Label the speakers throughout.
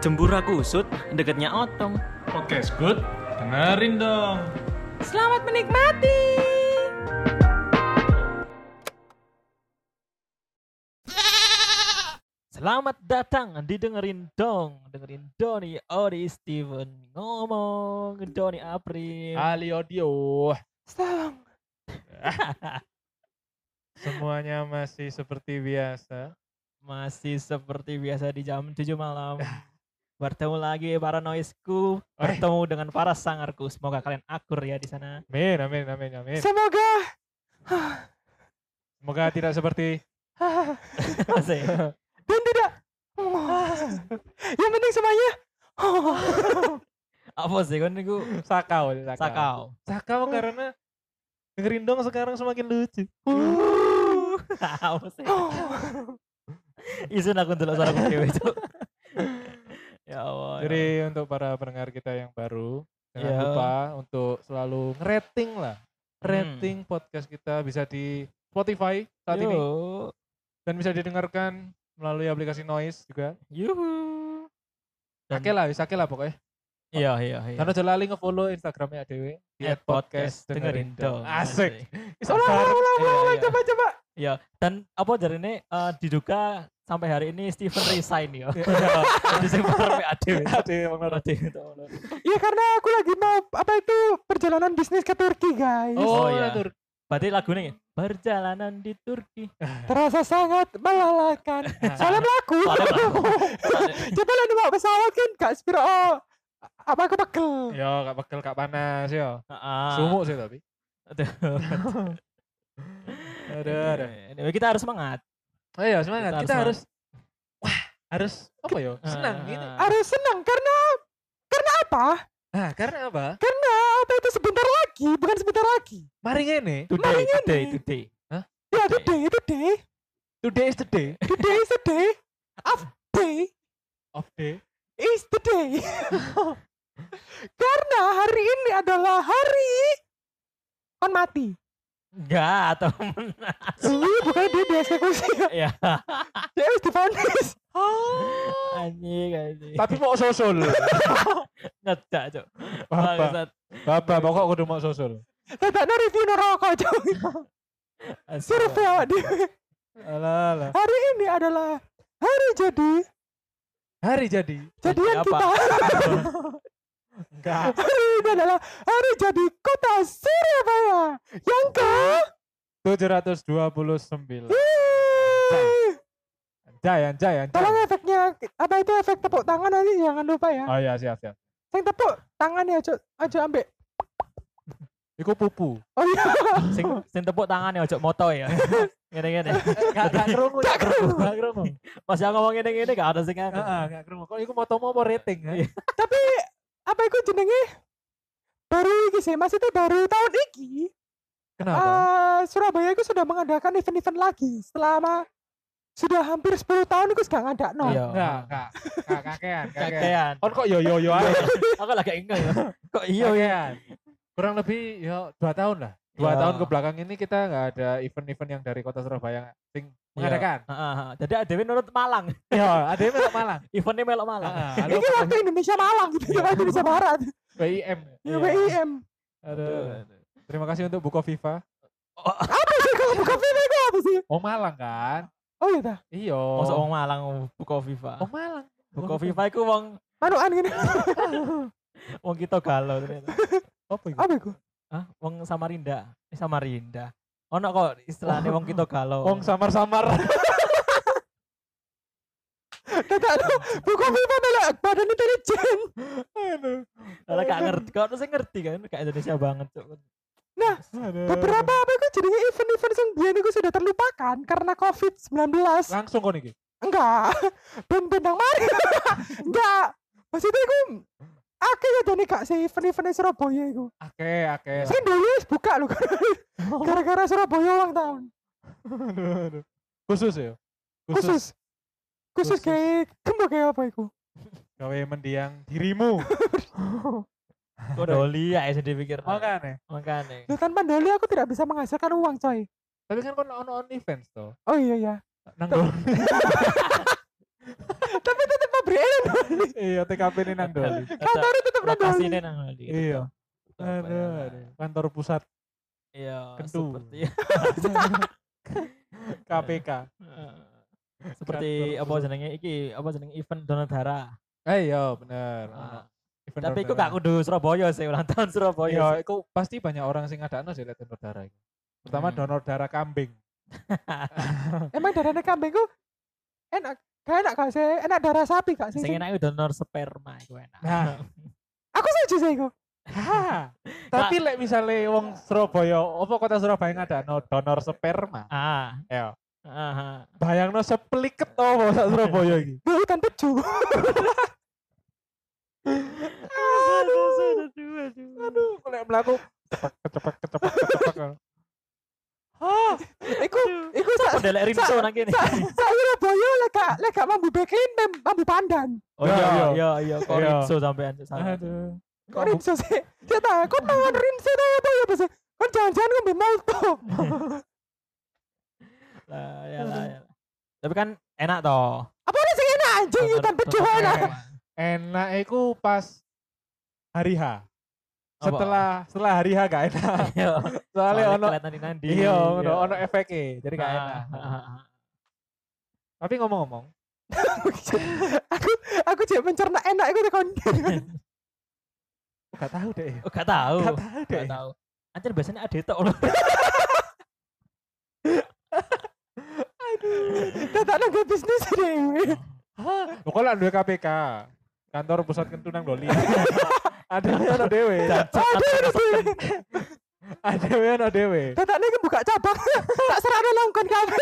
Speaker 1: Jembura kusut, deketnya otong.
Speaker 2: Podcast good, dengerin dong.
Speaker 3: Selamat menikmati.
Speaker 1: Selamat datang didengerin dong, dengerin Doni Ori Steven ngomong, Doni April.
Speaker 2: Ali audio.
Speaker 1: Tolong.
Speaker 2: Semuanya masih seperti biasa.
Speaker 1: Masih seperti biasa di jam 7 malam. Bertemu lagi para noise-ku,
Speaker 2: Oi.
Speaker 1: bertemu dengan para sangarku. Semoga kalian akur ya di sana.
Speaker 2: Amin, amin, amin, amin.
Speaker 1: Semoga.
Speaker 2: Semoga tidak seperti
Speaker 1: Dan tidak.
Speaker 3: Yang penting semuanya.
Speaker 1: Apa sih kan niku
Speaker 2: sakau.
Speaker 1: sakau.
Speaker 2: Sakau karena dengerin dong sekarang semakin lucu.
Speaker 1: Apa sih? Isun aku ndelok suaraku dhewe, Cuk. Ya Allah. ya Allah.
Speaker 2: Jadi untuk para pendengar kita yang baru, jangan
Speaker 1: Iya.
Speaker 2: lupa untuk selalu rating lah. Rating podcast kita bisa di Spotify saat ini
Speaker 1: Hmm. Yo.
Speaker 2: dan bisa didengarkan melalui aplikasi Noise juga.
Speaker 1: Yuhu. Dan-
Speaker 2: Oke lah, oke lah pokoknya.
Speaker 1: Iya, iya, iya.
Speaker 2: Karena aja lali nge-follow Instagramnya dewe. Di
Speaker 1: At podcast dengerin dong.
Speaker 2: Asik.
Speaker 1: Asik. Ulang, ulang, ulang,
Speaker 2: Iya,
Speaker 1: ulang,
Speaker 2: iya.
Speaker 1: coba, coba. Iya, dan apa jarine eh, diduga sampai hari ini Steven resign ya. Disembar PAD.
Speaker 2: Aduh, emang bener.
Speaker 3: Ya karena aku lagi mau apa itu perjalanan bisnis ke Turki guys.
Speaker 1: Oh,
Speaker 2: Oh,
Speaker 1: iya.
Speaker 2: iya. Tur.
Speaker 1: Berarti lagunya perjalanan di Turki.
Speaker 3: Terasa sangat melelahkan. Soalnya melaku.
Speaker 1: Soalnya melaku.
Speaker 3: Coba lah numpak pesawat kan gak spiro. oh, Apa aku pegel.
Speaker 2: Yo, gak pegel, gak panas yo.
Speaker 1: Heeh.
Speaker 2: Sumuk sih tapi.
Speaker 1: Aduh.
Speaker 2: Aduh, aduh.
Speaker 1: Anyway, kita harus semangat.
Speaker 2: Ayo Gitu. Oh, iya, semangat.
Speaker 1: Kita
Speaker 2: Kita
Speaker 1: harus
Speaker 2: harus wah, harus apa yo? Senang
Speaker 1: Ah,
Speaker 2: gitu. gini.
Speaker 1: ah.
Speaker 3: Harus senang karena karena apa?
Speaker 2: Nah, karena apa?
Speaker 3: Karena apa itu sebentar lagi, bukan sebentar lagi.
Speaker 2: Mari ngene.
Speaker 1: Today, today, today.
Speaker 3: Ya today, today,
Speaker 2: Today is the day
Speaker 3: today is the day of day.
Speaker 2: of day.
Speaker 3: is the day. Karena hari ini adalah hari kon mati.
Speaker 1: Enggak, temen.
Speaker 3: Ini bukan dia dieksekusi ya.
Speaker 1: Ya,
Speaker 3: Dia harus divonis.
Speaker 1: Oh. anjing, anjing.
Speaker 2: Tapi mau sosol.
Speaker 1: Ngejak, Cuk. Oh,
Speaker 2: Bapak,
Speaker 1: Bangsat.
Speaker 2: bapak pokok kudu mau sosol.
Speaker 3: Tetakno review no rokok cuy.
Speaker 1: Oh.
Speaker 3: Survei awak dhewe.
Speaker 2: Alah, alah.
Speaker 3: Hari ini adalah hari jadi
Speaker 2: Hari jadi.
Speaker 3: jadian
Speaker 1: apa?
Speaker 3: kita.
Speaker 2: Enggak.
Speaker 3: hari ini adalah hari jadi kota Surabaya yang ke
Speaker 2: 729.
Speaker 3: Yeay.
Speaker 2: Anjay, anjay, anjay.
Speaker 3: Tolong efeknya apa itu efek tepuk tangan nanti jangan lupa ya.
Speaker 2: Oh iya, siap, siap.
Speaker 3: Sing tepuk tangan ya ojo ojo ambek.
Speaker 2: Iku pupu.
Speaker 3: Oh iya.
Speaker 1: sing sing tepuk tangan ya ojo moto ya. Ngene-ngene.
Speaker 2: Gak gak krungu, gak krungu, gak krungu.
Speaker 1: Pas aku ngomong ngene-ngene gak ada sing aku.
Speaker 2: Heeh, gak krungu. Kok iku motomu apa rating? ha?
Speaker 1: Iya.
Speaker 3: tapi apa itu jenenge baru iki sih maksudnya baru tahun iki
Speaker 2: Kenapa?
Speaker 3: eh, Surabaya itu sudah mengadakan event-event lagi selama sudah hampir 10 tahun itu sudah nggak ada no
Speaker 1: Iya.
Speaker 2: Enggak, enggak. Enggak kakean, kakean.
Speaker 1: Kakean.
Speaker 2: Kon kok yo yo yo ae.
Speaker 1: Aku lagi ingat ya. Kok iya ya?
Speaker 2: Kakean. Kurang lebih yo 2 tahun lah. 2
Speaker 1: Iya.
Speaker 2: tahun ke belakang ini kita enggak ada event-event yang dari Kota Surabaya sing mengadakan.
Speaker 1: Heeh, heeh. Jadi adewe nurut Malang.
Speaker 2: Yo, Iya, ada yang melok Malang.
Speaker 1: Eventnya melok Malang. kan
Speaker 2: Heeh, ada
Speaker 3: ini waktu Indonesia Malang gitu waktu Indonesia Barat
Speaker 2: BIM.
Speaker 3: ya,
Speaker 1: Iya.
Speaker 3: WIM
Speaker 2: Aduh. Terima kasih untuk Buko Viva.
Speaker 3: apa sih kalau buka film itu apa sih
Speaker 2: Oh Malang kan?
Speaker 3: oh iya dah
Speaker 2: Iya.
Speaker 1: Masa wong Malang buka Viva.
Speaker 2: Oh Malang.
Speaker 1: Buka Viva iku wong
Speaker 3: manuan gini
Speaker 1: wong kita galau ternyata.
Speaker 2: Apa
Speaker 1: Ah,
Speaker 2: iku?
Speaker 3: apa itu
Speaker 1: Hah? Wong Samarinda. Eh Samarinda. Ono kok istilahnya wong kita galau.
Speaker 2: Wong samar-samar.
Speaker 3: tidak no buka film melek badan intelijen
Speaker 2: Aduh.
Speaker 1: Karena gak ngerti, kau tuh ngerti kan, kayak Indonesia banget cok. Hmm.
Speaker 2: Aduh.
Speaker 3: beberapa apa itu jadinya event-event yang biar itu sudah terlupakan karena COVID-19
Speaker 2: langsung kon iki.
Speaker 3: enggak ben benang mari enggak maksudnya aku akhirnya jadi gak sih event-event Surabaya itu
Speaker 2: Oke, oke.
Speaker 3: sing dulu wis buka lho gara-gara Surabaya ulang tahun
Speaker 2: Aduh, aduh. Khusus ya. Khusus
Speaker 3: khusus khusus
Speaker 2: Khusus.
Speaker 3: kayak gembok kayak apa itu
Speaker 2: gawe mendiang dirimu.
Speaker 1: Kok doli ya sih dipikir. ya.
Speaker 2: Makane.
Speaker 1: Makanya.
Speaker 3: Loh, tanpa doli aku tidak bisa menghasilkan uang coy
Speaker 2: Tapi kan kon ono OnlyFans to.
Speaker 3: oh iya ya
Speaker 2: Nang
Speaker 3: tapi tetap pabrik eh,
Speaker 2: iya ya TKP ini nang Doli.
Speaker 3: Kantor tetap
Speaker 1: lokasi
Speaker 3: nandoli.
Speaker 1: ini nang Doli. gitu.
Speaker 2: Iya.
Speaker 1: Tetep Surabaya.
Speaker 2: Aduh, aduh. Kantor pusat
Speaker 1: Iya,
Speaker 2: Kentu.
Speaker 1: seperti
Speaker 2: KPK.
Speaker 1: seperti
Speaker 2: Kantor
Speaker 1: apa
Speaker 2: pusat.
Speaker 1: jenenge iki, apa jenenge event donor darah.
Speaker 2: Eh iya bener.
Speaker 1: Ah,
Speaker 2: Event
Speaker 1: Tapi iku
Speaker 2: donor
Speaker 1: gak kudu Surabaya sih, ulang tahun
Speaker 2: darah. Iya,
Speaker 1: Surabaya. sih.
Speaker 2: iku pasti banyak orang sing ngadakno sih lek donor darah iki. Pertama
Speaker 1: Hmm.
Speaker 2: donor darah kambing.
Speaker 3: Emang darahnya kambingku enak. Gak enak gak sih? Enak darah sapi gak sih?
Speaker 1: Sing enak iku donor sperma iku enak.
Speaker 2: Nah.
Speaker 3: Aku setuju sih iku.
Speaker 2: Ha. Tapi lek misalnya wong Surabaya, apa kota Surabaya ngadakno donor sperma?
Speaker 1: Ah.
Speaker 2: Ya.
Speaker 1: Aha.
Speaker 2: Bayangno sepeliket to wong sak Surabaya iki.
Speaker 3: Duh, hutan peju.
Speaker 1: Aduh, aduh, aduh.
Speaker 2: Aduh, lek mlaku kecepak kecepak kecepak kecepak.
Speaker 3: Hah, iku iku sak
Speaker 1: Udah lek rinso nang kene.
Speaker 3: sak Surabaya lek gak lek gak mambu beklin mem- mambu pandan.
Speaker 1: Oh iya
Speaker 2: Iya.
Speaker 1: iya iya kok
Speaker 2: Iya.
Speaker 1: rinso sampean sampean.
Speaker 2: Aduh.
Speaker 3: Kok rinso sih? Saya tahu, kok mangan rinso tahu apa ya bos? Kan jangan-jangan ngombe molto.
Speaker 1: Lah ya lah ya. lah. Tapi kan enak toh.
Speaker 3: Apa ada sing enak anjing
Speaker 1: Donor-
Speaker 3: hutan peju
Speaker 1: donor
Speaker 3: enak.
Speaker 1: sperma.
Speaker 2: Enak iku pas hari H.
Speaker 1: Apa?
Speaker 2: Setelah setelah hari H gak enak.
Speaker 1: Iya.
Speaker 2: Soalnya ono
Speaker 1: kelihatan nandi.
Speaker 2: iya, Nah. ono ono efeknya, jadi
Speaker 1: Ah,
Speaker 2: gak enak. Tapi ngomong-ngomong,
Speaker 3: aku aku cek mencerna enak iku tekon.
Speaker 2: aku gak tahu deh.
Speaker 1: Oh, gak tahu.
Speaker 2: Gak tahu deh.
Speaker 1: Gak tahu. Anjir biasanya ada tok lho.
Speaker 3: Tetak nang bisnis dhewe.
Speaker 2: Pokoknya ada KPK, kantor pusat kentu nang doli. ada ono dewe,
Speaker 3: Aduh, aduh.
Speaker 2: ada ono dewe.
Speaker 3: Tetak nang buka cabang. Tak serana longkon kabeh.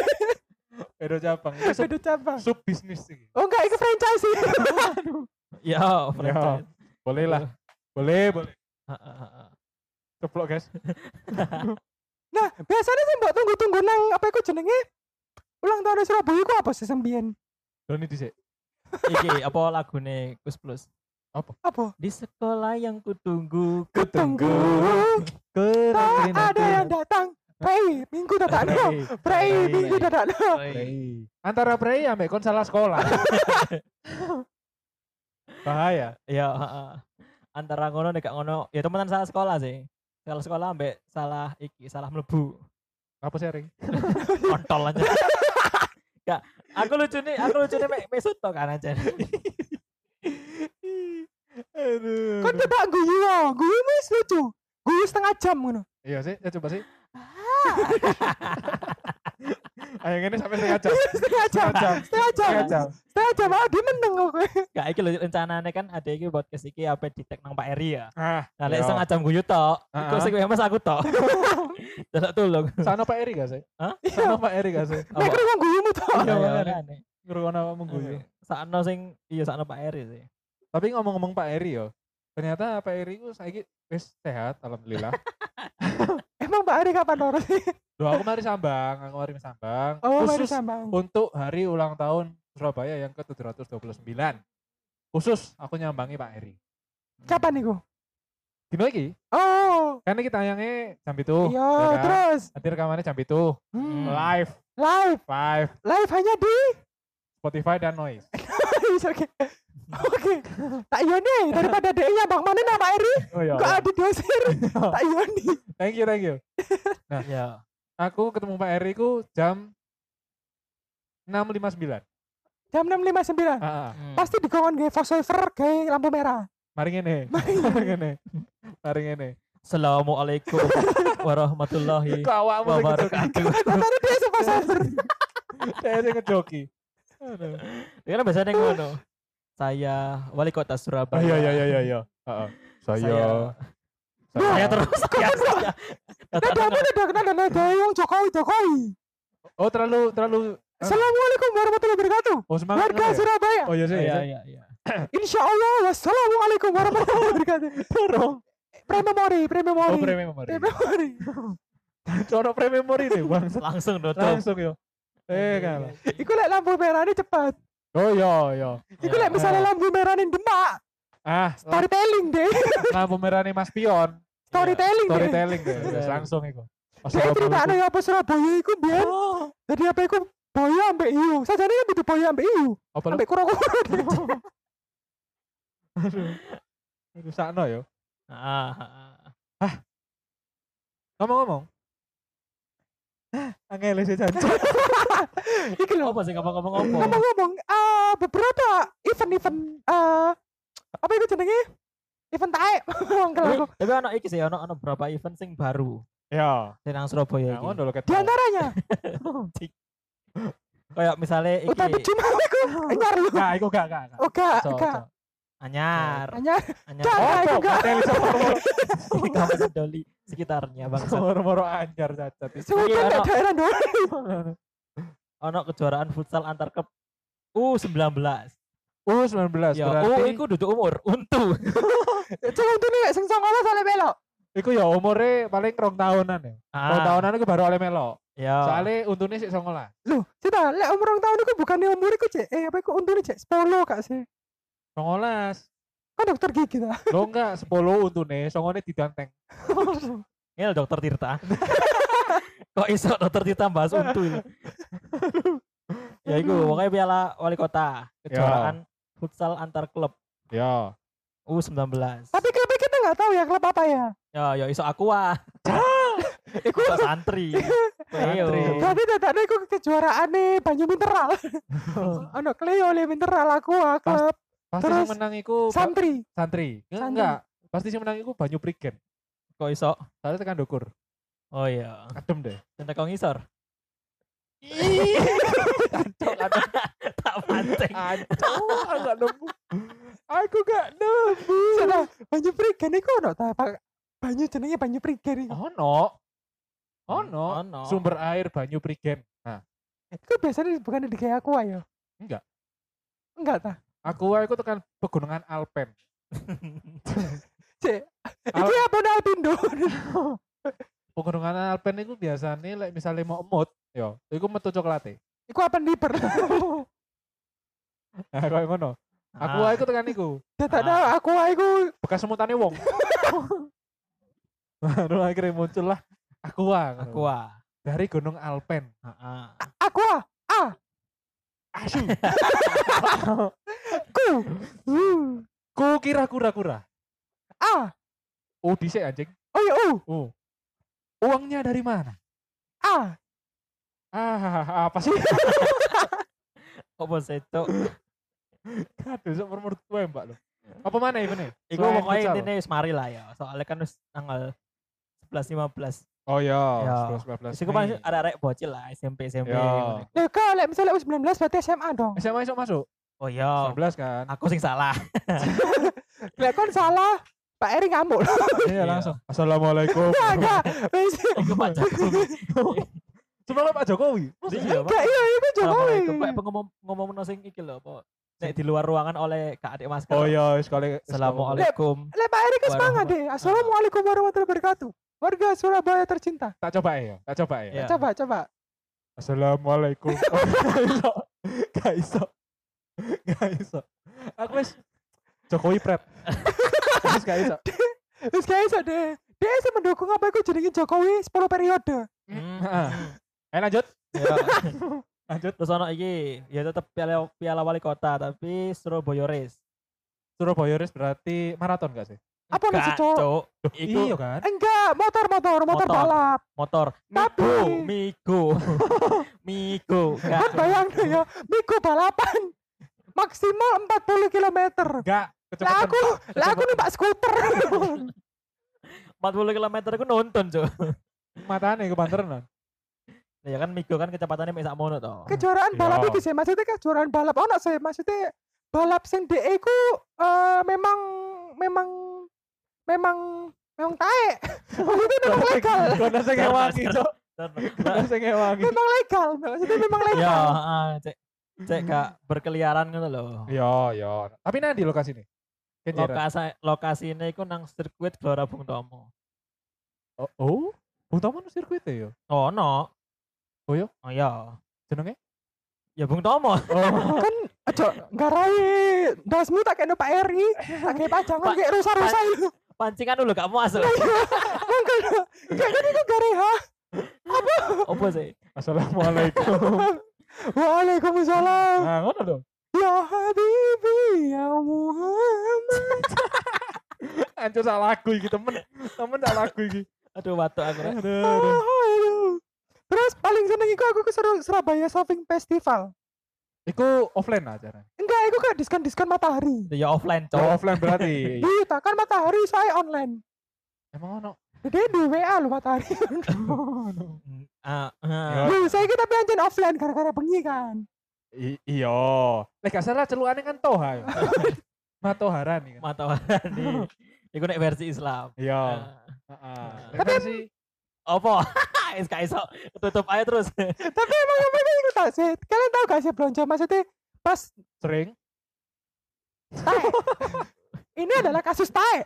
Speaker 2: Edo cabang, itu sub,
Speaker 3: Beda cabang.
Speaker 2: sub bisnis sih.
Speaker 3: Oh enggak, iku franchise. Aduh.
Speaker 1: Ya,
Speaker 2: Iya.
Speaker 1: franchise.
Speaker 2: Boleh lah, boleh, boleh.
Speaker 1: Ah, ah, ah, ah.
Speaker 2: Ceplok guys.
Speaker 3: Nah, biasanya sih mbok tunggu-tunggu nang apa iku jenenge? Ulang tahun Surabaya iku apa sih sembian?
Speaker 2: Doni dhisik.
Speaker 1: Iki apa lagune Kus Plus?
Speaker 3: Apa?
Speaker 1: Di sekolah yang kutunggu
Speaker 3: Tunggu. Tak
Speaker 2: Keren.
Speaker 3: Ah, ada yang datang. Pray, minggu datang. no. Pray,
Speaker 1: Pray.
Speaker 3: minggu datang. no.
Speaker 2: Prei. Antara Prei ambek kon salah sekolah. Bahaya.
Speaker 1: Ya, heeh. antara ngono nek gak ngono, ya temenan salah sekolah sih. Salah sekolah ambek salah iki, salah mlebu.
Speaker 2: Apa sharing?
Speaker 1: Kontol aja. Gak, aku lucu nih, aku lucu nih mesut tok kan aja.
Speaker 2: Aduh.
Speaker 3: Kan coba guyu, no. guyu wis lucu. Guyu setengah jam ngono.
Speaker 2: Iya sih, ya coba sih. Ayo ngene sampai setengah jam.
Speaker 3: Setengah jam.
Speaker 2: Setengah jam.
Speaker 3: Setengah jam.
Speaker 2: Setengah jam.
Speaker 3: Setengah jam ah dia meneng kok.
Speaker 1: Gak iki lho rencanane kan ada iki podcast iki apa di tag nang Pak Eri ya.
Speaker 2: Ah,
Speaker 1: Nah, lek
Speaker 2: iya.
Speaker 1: setengah jam guyu tok,
Speaker 2: Ah,
Speaker 1: iku
Speaker 2: ah.
Speaker 1: sing mas aku tok. Delok tulung.
Speaker 2: Sana Pak Eri gak sih?
Speaker 1: Hah?
Speaker 2: Sana Pak Eri gak sih?
Speaker 3: Nek
Speaker 1: Apa?
Speaker 3: kru wong guyumu to.
Speaker 1: Iya,
Speaker 2: Iya,
Speaker 1: iya,
Speaker 2: makanya.
Speaker 1: makanya. Iya.
Speaker 2: Ngeruwono apa mengguyu.
Speaker 1: Sakno sing iya sakno Pak Eri sih.
Speaker 2: Iya. Tapi ngomong-ngomong Pak Eri yo. Ternyata Pak Eri ku saiki wis sehat alhamdulillah.
Speaker 3: Emang Pak Ari kapan loro sih?
Speaker 2: Doa aku mari sambang, aku mari sambang.
Speaker 3: Oh, Pak Ari
Speaker 2: Khusus
Speaker 3: sambang.
Speaker 2: untuk hari ulang tahun Surabaya yang ke-729. Khusus aku nyambangi Pak Eri.
Speaker 3: Kapan niku?
Speaker 2: Dino iki,
Speaker 3: Oh,
Speaker 2: karena Kan kita tayangnya jam itu.
Speaker 3: iya,
Speaker 2: ya kan?
Speaker 3: terus.
Speaker 2: Nanti rekamannya jam itu.
Speaker 3: Hmm.
Speaker 1: Hmm.
Speaker 2: Live,
Speaker 3: Live,
Speaker 2: live
Speaker 3: live hanya di
Speaker 2: Spotify dan Noise.
Speaker 3: oke. Oke. Tak yoni daripada DE nya Bang mana nama Eri?
Speaker 2: Oh iya.
Speaker 3: Kok ada dosir? Tak iya yoni.
Speaker 2: Thank you, thank you.
Speaker 1: Iya.
Speaker 2: Aku ketemu Pak Eri ku jam 6.59.
Speaker 3: Jam 6.59.
Speaker 2: Ah, ah.
Speaker 1: Hmm.
Speaker 3: Pasti dikongkon nggih voiceover gawe lampu merah.
Speaker 2: mari ngene. Mari ngene. Mari ngene.
Speaker 1: Assalamualaikum warahmatullahi
Speaker 2: Kok awakmu sing ngejoki?
Speaker 1: wabarakatuh.
Speaker 3: Katanya dia sing voiceover.
Speaker 2: Saya sing ngejoki. Aduh.
Speaker 1: Karena Iya, kan biasanya ngono. Saya wali kota
Speaker 2: Ah,
Speaker 1: Surabaya.
Speaker 2: Iya, iya, iya, iya, iya. Ah, ah.
Speaker 1: Saya-
Speaker 2: Saya
Speaker 1: Saya terus
Speaker 3: Iya.
Speaker 1: ya. saya. Tata-
Speaker 3: Ada apa ada kenal ada ada wong Jokowi Jokowi.
Speaker 2: Oh, terlalu terlalu
Speaker 3: Assalamualaikum warahmatullahi wabarakatuh.
Speaker 2: Oh, semangat.
Speaker 3: Warga
Speaker 2: ngono ya?
Speaker 3: Surabaya.
Speaker 2: Oh iya sih.
Speaker 1: Iya,
Speaker 2: iya,
Speaker 1: iya, iya.
Speaker 3: Insya Allah wassalamualaikum warahmatullahi wabarakatuh.
Speaker 2: Dorong.
Speaker 3: Prememori, prememori.
Speaker 2: Oh, prememori.
Speaker 3: Prememori.
Speaker 2: Coro prememori nih, Bang.
Speaker 1: Langsung Iya, dotong.
Speaker 2: Langsung yo. Eh, kan.
Speaker 3: Iku lek lampu merahnya cepat.
Speaker 2: Oh, iya, iya.
Speaker 3: Iku lek misalnya lampu merahnya Demak,
Speaker 2: Ah,
Speaker 3: storytelling deh,
Speaker 2: lampu merah nih Mas Pion.
Speaker 3: storytelling deh.
Speaker 2: Ya, Storytelling deh. Wes langsung iku. Pas
Speaker 3: Saya
Speaker 2: ngobrol
Speaker 3: cerita
Speaker 2: iku.
Speaker 3: nih apa Surabaya iku biar
Speaker 2: Oh.
Speaker 3: jadi apa iku boyo ambek iu. Sajane kan itu boyo ambek iu,
Speaker 2: Apa lu?
Speaker 3: ambek kura-kura.
Speaker 2: Rusakno yo.
Speaker 1: Ah, ah, ah.
Speaker 2: Ngomong-ngomong. Angel sih janji.
Speaker 3: Iki lho.
Speaker 1: Apa sih ngomong-ngomong apa?
Speaker 3: Ngomong-ngomong, eh, beberapa event-event eh apa itu jenenge? Event taek. Wong
Speaker 1: Tapi-
Speaker 3: kelaku.
Speaker 1: Tapi ono iki sih ono ono beberapa event sing baru
Speaker 2: Ya,
Speaker 1: sing nang Surabaya
Speaker 2: ya
Speaker 1: iki.
Speaker 2: ngono lho
Speaker 3: Di
Speaker 2: ketemu.
Speaker 3: antaranya,
Speaker 1: Kayak misalnya iki
Speaker 3: utai biji mau aku anyar lu. Oh,
Speaker 2: Nah, iku gak gak. gak.
Speaker 3: Oga,
Speaker 1: Cok,
Speaker 3: oga.
Speaker 1: cok.
Speaker 2: Oh,
Speaker 1: Anyar,
Speaker 3: Anyar.
Speaker 1: anyar Oh,
Speaker 3: Cok.
Speaker 2: Opo,
Speaker 3: iku gak.
Speaker 2: mateli sepuro-
Speaker 1: di Kabupaten Doli sekitarnya bangsa.
Speaker 2: sepuro-moro anjar cacat.
Speaker 3: Sebutan
Speaker 1: Iya,
Speaker 3: ndak
Speaker 1: no.
Speaker 3: daerah doang.
Speaker 1: Ono kejuaraan futsal antar klub U19.
Speaker 2: U19
Speaker 1: Ya, U
Speaker 2: berarti.
Speaker 1: iku duduk umur, untu.
Speaker 3: Cuma itu nih sing songono sale belok.
Speaker 2: Iku ya umure paling rong tahunan ya.
Speaker 1: Ah,
Speaker 2: Rong tahunan iku baru oleh melo.
Speaker 1: Ya.
Speaker 2: Soale untune sik 19.
Speaker 3: Loh, sita, lek umur rong tahun iku bukane umur iku cek eh apa iku untune cek 10 gak sih?
Speaker 2: 19.
Speaker 3: Kan dokter gigi ta.
Speaker 2: Lo enggak 10 untune, songone didanteng.
Speaker 1: Ngel dokter Tirta. Kok iso dokter Tirta bahas untu ini? ya iku pokoknya piala wali kota kejuaraan futsal antar klub
Speaker 2: Ya.
Speaker 1: U19.
Speaker 3: Tapi klub kita nggak tahu ya klub apa ya.
Speaker 1: Ya ya iso aku ah.
Speaker 3: Iku
Speaker 1: Iso santri.
Speaker 2: Santri.
Speaker 1: Iya.
Speaker 3: berarti dadane iku kejuaraan nih banyu mineral. Ono Cleo le mineral aku ah, klub
Speaker 2: Pasti
Speaker 3: Terus,
Speaker 2: sing menang iku Ba-
Speaker 3: santri.
Speaker 2: santri. Enggak,
Speaker 3: Santri.
Speaker 2: enggak. Pasti sing menang iku Banyu Prigen.
Speaker 1: Kok iso?
Speaker 2: Soale tekan dukur.
Speaker 1: Oh iya.
Speaker 2: Adem deh.
Speaker 1: Cinta kau ngisor. tak pancing.
Speaker 2: Aduh, aku gak nemu. Aku gak nemu.
Speaker 3: Sudah banyu prigen iku ono ta Pak? Banyu jenenge banyu prigen
Speaker 2: Oh.
Speaker 3: iku.
Speaker 2: Ono. Ono.
Speaker 1: Ono.
Speaker 2: Sumber air Banyu Prigen. Nah,
Speaker 3: Iku biasanya bukan di kayak aku ya.
Speaker 2: Enggak.
Speaker 3: Enggak ta.
Speaker 2: aku aku tekan pegunungan Alpen.
Speaker 3: Cek.
Speaker 2: Al-
Speaker 3: Iki apa nih Alpindo?
Speaker 2: Pegunungan Alpen itu biasanya like misalnya mau emut, yo, iku metu coklate.
Speaker 3: Iku apa liber?
Speaker 2: Nah, kayak ngono. Aku
Speaker 1: Ah.
Speaker 2: aku tekan iku.
Speaker 3: Dadane aku ah, iku
Speaker 2: bekas semutannya wong baru akhirnya muncul lah aqua
Speaker 1: Aku ah.
Speaker 2: dari gunung Alpen
Speaker 1: Heeh.
Speaker 3: aku ah.
Speaker 2: asu
Speaker 3: Ku. Uh.
Speaker 2: ku kira kura kura
Speaker 3: Ah.
Speaker 2: oh dhisik anjing
Speaker 3: Oh ya uh.
Speaker 2: oh uangnya dari mana
Speaker 3: Ah.
Speaker 2: ah apa sih
Speaker 1: Kok bos itu?
Speaker 2: aduh seumur umur tua mbak lo apa mana ini nih
Speaker 1: Iku pokoknya intinya wis mari lah ya. Soalnya kan wis tanggal 11 15.
Speaker 2: oh ya
Speaker 1: Ya.
Speaker 2: 11
Speaker 1: Wis iku paling ada arek bocil lah SMP SMP.
Speaker 2: Ya.
Speaker 1: ngono iku.
Speaker 3: Lek kalau lek misalnya U19 berarti SMA dong.
Speaker 2: SMA iso masuk
Speaker 1: Oh iya.
Speaker 2: 11 kan
Speaker 1: Aku sing salah.
Speaker 3: Lek kon salah Pak Eri ngamuk.
Speaker 2: iya langsung assalamualaikum
Speaker 3: Enggak. Wis.
Speaker 2: Oh.
Speaker 1: Iku Pak Jokowi.
Speaker 2: sebelum Pak Jokowi
Speaker 1: Iya, Pak.
Speaker 3: Enggak iya iku Jokowi.
Speaker 1: Assalamualaikum. Kayak pengomong ngomong sing iki lho apa nek di luar ruangan oleh Kak Adik Masker.
Speaker 2: oh ya sekali
Speaker 1: Assalamualaikum.
Speaker 3: Lek Pak Eri ke semangat
Speaker 1: Warahmat-
Speaker 3: deh. Assalamualaikum warahmatullahi wabarakatuh. Warga Surabaya tercinta.
Speaker 2: tak coba ya tak coba ya
Speaker 1: Iya.
Speaker 3: Coba coba.
Speaker 2: Assalamualaikum. Oh, gak iso. Gak iso. Gak iso. Aku wis Jokowi pret. Wis gak iso.
Speaker 3: Terus guys ada dia sih mendukung apa iku jenenge Jokowi 10 periode.
Speaker 1: Hmm.
Speaker 2: Heeh. Eh lanjut.
Speaker 1: Ya.
Speaker 2: Lanjut.
Speaker 1: Terus ono iki ya tetep piala piala wali kota tapi Surabaya Race.
Speaker 2: Surabaya Race berarti maraton gak sih?
Speaker 3: Apa nih
Speaker 1: Enggak,
Speaker 3: Cok?
Speaker 1: Cok? Iku
Speaker 2: iya kan?
Speaker 3: Enggak, motor-motor, motor
Speaker 1: Motor.
Speaker 3: balap.
Speaker 1: motor.
Speaker 3: Tapi-
Speaker 1: Migo, Migo. Migo.
Speaker 3: Kan
Speaker 1: Enggak.
Speaker 3: bayang deh ya, Miku balapan maksimal 40 km.
Speaker 2: Enggak,
Speaker 3: Lah
Speaker 2: kecepatan.
Speaker 3: aku, lah aku numpak skuter.
Speaker 1: 40 km ku nonton, Cok.
Speaker 2: Matane kebanteran.
Speaker 1: Nah, Ya kan Migo kan kecepatannya mek sakmono to.
Speaker 2: Iya.
Speaker 3: kejuaraan balap itu sih, maksudnya kejuaraan balap ono sih, maksudnya balap sing DE ku eh, memang memang memang memang tae. maksudnya memang legal.
Speaker 2: Kono sing ngewangi, Cok. Kono sing ngewangi.
Speaker 3: memang legal, maksudnya memang
Speaker 1: Ya,
Speaker 3: legal.
Speaker 1: ah, cek cek gak berkeliaran ngono lho.
Speaker 2: Yo, yo. Iya, Tapi nanti lokasi ini. Kenjeran.
Speaker 1: Lokasi lokasine iku nang sirkuit Gelora Bung Tomo.
Speaker 2: Oh, oh. Bung Tomo no sirkuit ya?
Speaker 1: Oh, no.
Speaker 2: Oh, iya?
Speaker 1: Oh iya.
Speaker 2: Jenenge?
Speaker 1: Ya Bung Tomo.
Speaker 2: Oh.
Speaker 3: kan aja ngarai dasmu tak kena Pak Eri tak kayak pajangan
Speaker 1: Pak-
Speaker 3: kayak rusak-rusak itu
Speaker 1: Pancingan dulu gak mau masuk.
Speaker 3: mangkel kayak kan itu garai ha
Speaker 1: Opo sih?
Speaker 2: Assalamualaikum.
Speaker 3: waalaikumsalam
Speaker 2: Nah, ngono dong.
Speaker 3: ya habibi ya Muhammad
Speaker 2: ancur sak lagu iki temen. Temen sak lagu iki.
Speaker 1: Aduh watuk aku. Rek.
Speaker 2: Aduh. aduh.
Speaker 3: Oh, aduh. Terus paling seneng iku aku ke Sur- Surabaya Shopping Festival.
Speaker 2: Iku offline acara.
Speaker 3: Enggak, iku kayak diskon-diskon matahari.
Speaker 1: Ya offline
Speaker 2: Oh,
Speaker 1: cowok.
Speaker 2: offline berarti.
Speaker 3: Iya, kan matahari saya online.
Speaker 2: Emang ono.
Speaker 3: Jadi di WA lu matahari.
Speaker 1: Mm, ah,
Speaker 2: Ya.
Speaker 1: ah.
Speaker 3: Lu saya kita pianjen offline gara-gara bengi kan.
Speaker 2: I- Iya. Lek gak salah celukane kan Toha. ya. Matoharan iki. kan.
Speaker 1: Mata warani. Iku nek versi Islam.
Speaker 2: Iya.
Speaker 1: Ah.
Speaker 2: Heeh.
Speaker 3: Tapi
Speaker 2: Tapi sih
Speaker 1: Opo? Wis gak iso. Tutup aja terus.
Speaker 3: Tapi emang yang penting iku tak sih. Kalian tahu gak sih belanja maksudnya pas
Speaker 2: sering.
Speaker 3: tae. Ini adalah kasus tae.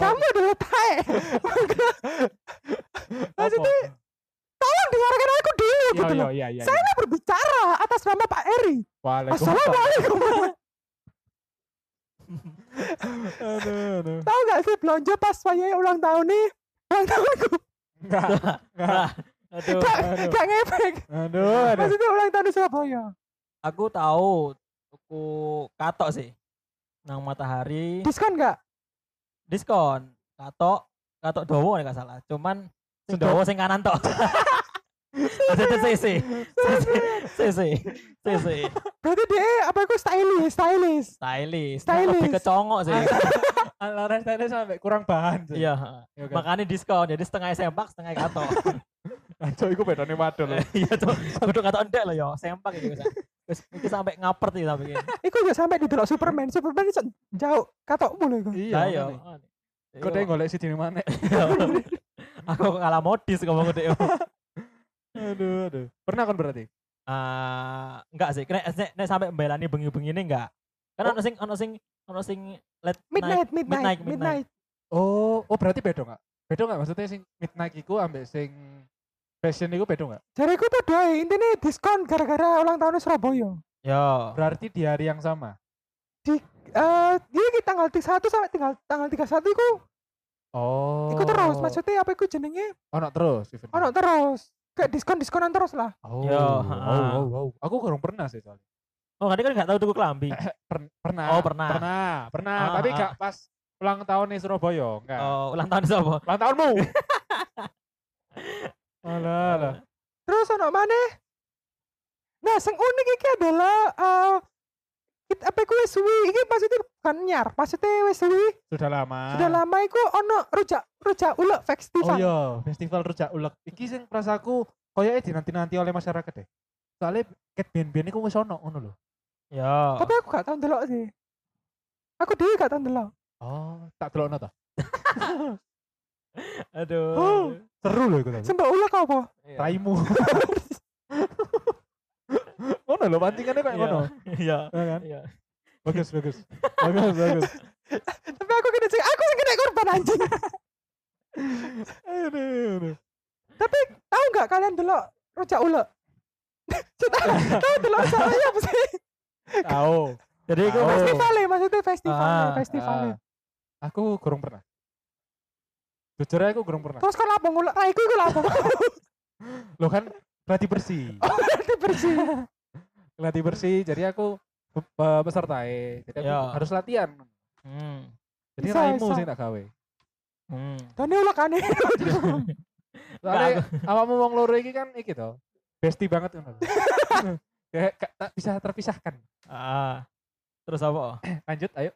Speaker 3: Kamu adalah tae. Maksudnya
Speaker 2: Apa?
Speaker 3: tolong dengarkan aku dulu
Speaker 2: Iya,
Speaker 3: gitu
Speaker 2: iya,
Speaker 3: loh.
Speaker 2: iya, iya.
Speaker 3: Saya nggak berbicara atas nama Pak Eri.
Speaker 2: Waalaikumsalam.
Speaker 3: Assalamualaikum.
Speaker 2: Aduh, aduh.
Speaker 3: tahu nggak sih belanja pas saya ulang tahun nih? Ulang tahunku.
Speaker 2: Enggak. Enggak.
Speaker 1: Nah, Aduh.
Speaker 3: Gak,
Speaker 2: aduh.
Speaker 3: gak ngefek.
Speaker 2: Aduh, Iya. aduh.
Speaker 3: Maksudnya ulang tahun di Surabaya.
Speaker 1: Aku tahu. Aku katok sih. Nang matahari.
Speaker 3: Diskon nggak?
Speaker 1: diskon katok katok dowo nek gak salah cuman sing dowo sing kanan tok Maksudnya sisi sisi sisi sisi
Speaker 3: Berarti dia apa aku stylish, stylish.
Speaker 1: stylish
Speaker 3: Stylish.
Speaker 1: Nah, lebih kecongok sih
Speaker 2: Ah, Alara tadi sampai kurang bahan. sih.
Speaker 1: iya
Speaker 2: Iya kan?
Speaker 1: makanya diskon jadi setengah sempak setengah katok
Speaker 2: Aduh, iku bedane wadon lho.
Speaker 1: iya tuh kudu katok ndek lho yo sempak iki Gus. Gus iki sampai ngapert iki sampai iki
Speaker 3: Iku udah sampai di delok Superman. Superman itu jauh. Katokmu loh iku.
Speaker 2: Iya.
Speaker 1: Lah, yo
Speaker 2: Kok dia golek si dini mana?
Speaker 1: aku kalah modis ngomong gede
Speaker 2: Aduh, aduh. Pernah kan berarti?
Speaker 1: Ah, enggak sih. Nek nek, nek sampai mbelani bengi-bengi ini enggak.
Speaker 2: Oh.
Speaker 1: Kan ono sing ono sing ono sing late night.
Speaker 3: Midnight, midnight,
Speaker 1: Midnight,
Speaker 3: midnight.
Speaker 2: Oh, oh berarti beda nggak? Beda nggak maksudnya sing midnight iku ambek sing fashion iku beda nggak?
Speaker 3: Jadi aku tuh doi, intinya diskon gara-gara ulang tahun Surabaya.
Speaker 1: Yo.
Speaker 2: Berarti di hari yang sama.
Speaker 3: Eh, iya iki tanggal 1 sampai tanggal tanggal 31 iku
Speaker 2: Oh.
Speaker 3: iku terus maksudnya apa iku jenenge?
Speaker 2: Ono terus. event.
Speaker 3: Ono terus. Kayak diskon-diskonan terus lah.
Speaker 2: Oh.
Speaker 1: Yo,
Speaker 2: Wow,
Speaker 1: ha.
Speaker 2: wow, wow. Aku kurang pernah sih soalnya.
Speaker 1: Oh, tadi kan enggak tahu tuku klambi.
Speaker 2: Per- pernah.
Speaker 1: Oh, pernah.
Speaker 2: Pernah, pernah.
Speaker 1: Ah,
Speaker 2: Tapi
Speaker 1: ah.
Speaker 2: nggak pas ulang tahun nih Surabaya, enggak.
Speaker 1: Oh, ulang tahun sapa?
Speaker 2: Ulang tahunmu. alah, alah.
Speaker 3: Terus ono maneh? Nah, sing unik iki adalah eh kita apa iku wis suwi iki maksudnya bukan nyar, maksudnya wis suwi
Speaker 2: Sudah lama.
Speaker 3: sudah lama iku ono rujak rujak ulek
Speaker 2: Ah. Oh
Speaker 3: festival.
Speaker 2: iya, festival rujak ulek. Iki sing prasaku koyoke dinanti-nanti oleh masyarakat deh. Soalnya ket ben-ben iku wis ono ngono lho.
Speaker 1: Yo.
Speaker 3: Tapi aku gak tau ndelok sih. Aku dhewe gak tau ndelok.
Speaker 2: Oh, tak delokno ta. Oh.
Speaker 1: Aduh.
Speaker 2: Seru lho iku tapi.
Speaker 3: Sembah ulek apa?
Speaker 1: Iya.
Speaker 2: Raimu. ngono lho pancingannya kayak
Speaker 1: Iya.
Speaker 2: ngono.
Speaker 1: Iya.
Speaker 2: Ya kan?
Speaker 1: Iya.
Speaker 2: Bagus, bagus. Bagus, bagus.
Speaker 3: Tapi aku kena sing aku sing kena korban anjing.
Speaker 2: Aduh, aduh.
Speaker 3: Tapi tahu nggak kalian delok rujak ulek? Tahu tahu delok saya apa sih?
Speaker 2: Tahu.
Speaker 1: Jadi iku
Speaker 2: Oh.
Speaker 1: pasti
Speaker 3: Festival ya, maksudnya festival,
Speaker 1: Ah,
Speaker 3: festival.
Speaker 2: Ah, Aku kurang pernah. Jujur aja aku kurang pernah.
Speaker 3: Terus kan kalau apa ngulek raiku nah, iku lha apa?
Speaker 2: Lo kan berarti bersih.
Speaker 3: Berarti bersih.
Speaker 2: Latih bersih, jadi aku be- be- pesertae. Jadi aku
Speaker 1: Iya.
Speaker 2: harus latihan.
Speaker 1: Hmm.
Speaker 2: Jadi
Speaker 3: Bisa,
Speaker 2: raimu
Speaker 3: bisa.
Speaker 2: sih tak gawe.
Speaker 1: Hmm.
Speaker 3: Dan ini ulek aneh.
Speaker 2: Soalnya awakmu wong loro iki kan iki to. Besti banget ngono. Kayak gak- tak bisa terpisahkan. Eh,
Speaker 1: Ah. Terus apa?
Speaker 2: Lanjut ayo.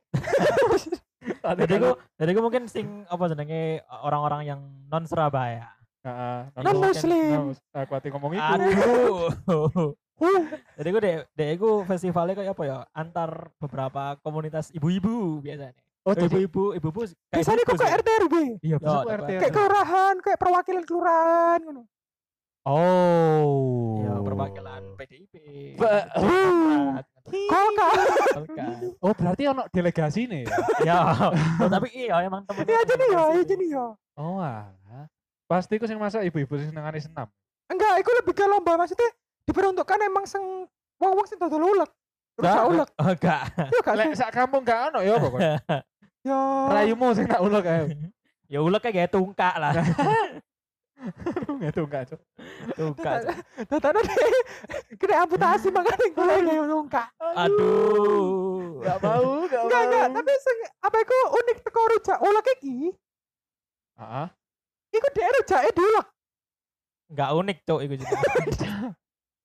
Speaker 2: Tadi
Speaker 1: Jadi iku jadi iku mungkin sing apa jenenge orang-orang yang non Surabaya.
Speaker 2: Heeh. kan,
Speaker 3: Non muslim.
Speaker 2: Aku hati ngomong itu.
Speaker 1: Aduh. Jadi gue dek dek gue festivalnya kayak apa ya? Antar beberapa komunitas ibu-ibu biasanya. Eh,
Speaker 2: Oh, jadi
Speaker 1: Ibu-ibu, ibu-ibu. kayak gitu
Speaker 3: Biasanya
Speaker 1: ibu
Speaker 3: kok kayak RT RW,
Speaker 2: iya bisa
Speaker 1: Yo,
Speaker 2: aku
Speaker 1: dapat.
Speaker 2: RT.
Speaker 3: kayak kelurahan, kayak perwakilan kelurahan ngono.
Speaker 2: Oh.
Speaker 1: Ya, perwakilan PDIP.
Speaker 2: Ba-
Speaker 1: Demokrat,
Speaker 3: Kok
Speaker 1: Golkar.
Speaker 2: Oh, berarti ono delegasi nih.
Speaker 1: Iya. Ya, oh, tapi iya emang temen.
Speaker 3: Iya jadi ya, iya jadi ya.
Speaker 2: Oh, alah. Pasti ku sing masak ibu-ibu sing senengane senam.
Speaker 3: Enggak, iku lebih ke lomba maksudnya diperuntukkan emang sing wong-wong sing dodol ulek. Rujak ulek.
Speaker 1: Oh, enggak.
Speaker 3: Iya gak sih?
Speaker 2: Lek sak kampung gak ono ya pokoknya.
Speaker 3: Ya.
Speaker 2: Rayumu sing tak ulek ayo.
Speaker 1: Ya ulek kayak tungkak lah.
Speaker 2: Itu enggak, Cuk.
Speaker 1: Tungkak.
Speaker 3: Datane kena amputasi makane gue nggak nungka.
Speaker 1: Aduh.
Speaker 2: Ya
Speaker 4: Gak mau, gak
Speaker 3: Enggak, enggak,
Speaker 4: mau.
Speaker 3: tapi sing apa iku unik teko rujak ulek iki.
Speaker 2: Heeh.
Speaker 3: Iku dhek rujake diulek.
Speaker 1: Enggak unik, Cuk, iku juga.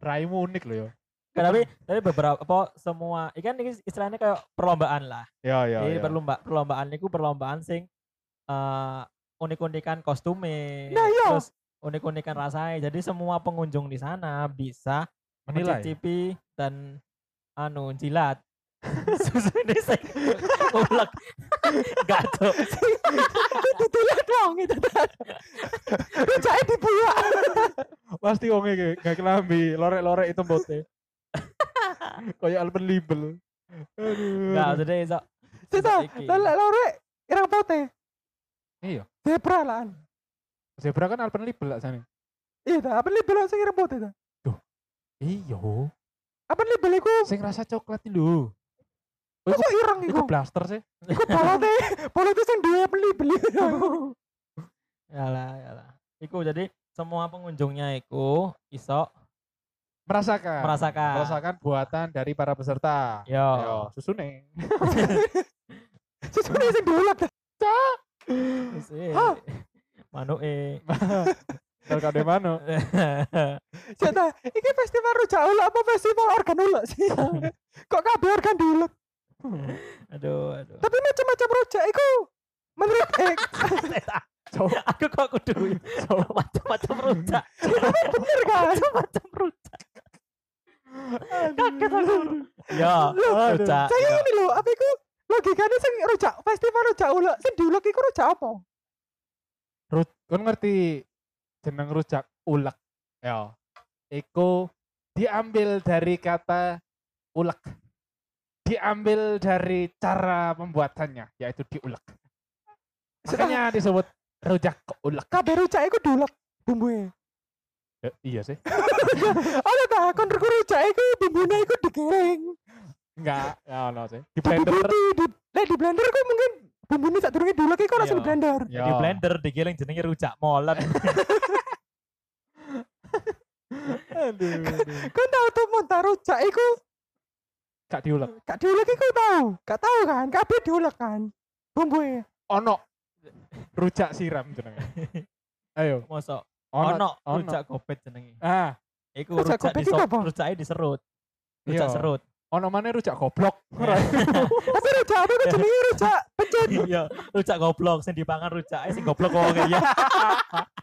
Speaker 2: Raimu unik loh yo.
Speaker 1: Nggak, tapi tapi beberapa apa semua ikan ini istilahnya kayak perlombaan lah.
Speaker 2: Ya ya.
Speaker 3: Iya,
Speaker 1: Jadi
Speaker 2: ya.
Speaker 1: perlomba perlombaan itu perlombaan sing eh unik-unikan kostume,
Speaker 3: Nah, iya.
Speaker 1: terus unik-unikan rasanya. Jadi semua pengunjung di sana bisa
Speaker 2: menilai.
Speaker 1: mencicipi dan anu jilat. Susu ini sing ulek. Enggak tuh.
Speaker 3: Didelek dong gitu, itu. Rujake dibuak.
Speaker 2: Pasti wong iki gak kelambi, lorek-lorek itu mbote. Kayak Alpen Libel. Aduh.
Speaker 1: Enggak, jadi iso. iso
Speaker 3: Sita,
Speaker 1: iki.
Speaker 3: lelek lore irang eh, pote.
Speaker 2: Iya.
Speaker 3: Zebra lah.
Speaker 2: Zebra kan Alpen Libel lah sana.
Speaker 3: Iya, ta, apa libel sing irang pote ta?
Speaker 2: Iyo.
Speaker 3: Apa libel iku?
Speaker 2: Iya. Sing rasa coklat itu lho.
Speaker 3: Iku ireng
Speaker 2: Iku
Speaker 3: iku.
Speaker 2: blaster sih.
Speaker 3: Iku bolote. Bolote sing duwe beli-beli.
Speaker 1: Yalah, yalah. Iku jadi semua pengunjungnya iku iso
Speaker 2: Merasakan.
Speaker 1: Merasakan. Iya.
Speaker 2: Merasakan buatan dari para peserta.
Speaker 1: yo.
Speaker 2: Ayo, susune.
Speaker 3: Sesune sing diulek. ta.
Speaker 1: Wis, eh.
Speaker 3: Hah?
Speaker 1: Manuke.
Speaker 2: Kalau kau di mana?
Speaker 3: Sita, iki festival rujak ulek apa festival organ ulek sih? Kok kabeh organ diulek?
Speaker 1: aduh, aduh.
Speaker 3: Tapi macam-macam rujak iku menurut eh
Speaker 2: Cowok.
Speaker 1: Aku kok kudu macam-macam rujak,
Speaker 3: bener kan?
Speaker 1: macam rujak. Kaget aku. Yo,
Speaker 3: Loh,
Speaker 1: rujak.
Speaker 3: Saya
Speaker 1: yo.
Speaker 3: ini loh, apa iku logikanya sing rujak festival rujak ulek sing diulek iku rujak apa?
Speaker 2: Rut, kau ngerti jeneng rujak ulek. Ya. Iku diambil dari kata ulek. Diambil dari cara pembuatannya, yaitu diulek.
Speaker 3: Sita,
Speaker 2: Makanya disebut rujak ulek.
Speaker 3: kabeh rujak iku diulek bumbunya.
Speaker 2: Eh, iya sih.
Speaker 3: Ada ta kon rujak rujak iku bumbune iku digoreng.
Speaker 2: Enggak, ya no sih. Di
Speaker 3: Tapi
Speaker 2: blender.
Speaker 3: di di lek di blender ku mungkin bumbune sak durunge diulek iku langsung
Speaker 1: Iya.
Speaker 3: di blender.
Speaker 2: Ya.
Speaker 1: Di blender digiling jenenge rujak molen.
Speaker 2: Aduh.
Speaker 3: Kon tau tuh montar rujak iku
Speaker 2: Kak diulek.
Speaker 3: gak diulek iku tau. Gak tau kan? Kabeh diulek kan. Bumbunya.
Speaker 2: Ono. Rujak siram jenenge. Ayo.
Speaker 1: Mosok ono rujak gobet jenenge.
Speaker 2: Ah,
Speaker 1: Iku rujak
Speaker 3: Rujak gobet
Speaker 1: diso-
Speaker 3: iku apa?
Speaker 1: rujaknya diserut. Rujak
Speaker 2: Iya.
Speaker 1: serut.
Speaker 2: ono mana rujak goblok.
Speaker 3: Tapi rujak apa iku jenenge rujak
Speaker 1: Iya, rujak goblok sing dipangan rujake sing goblok kok ya.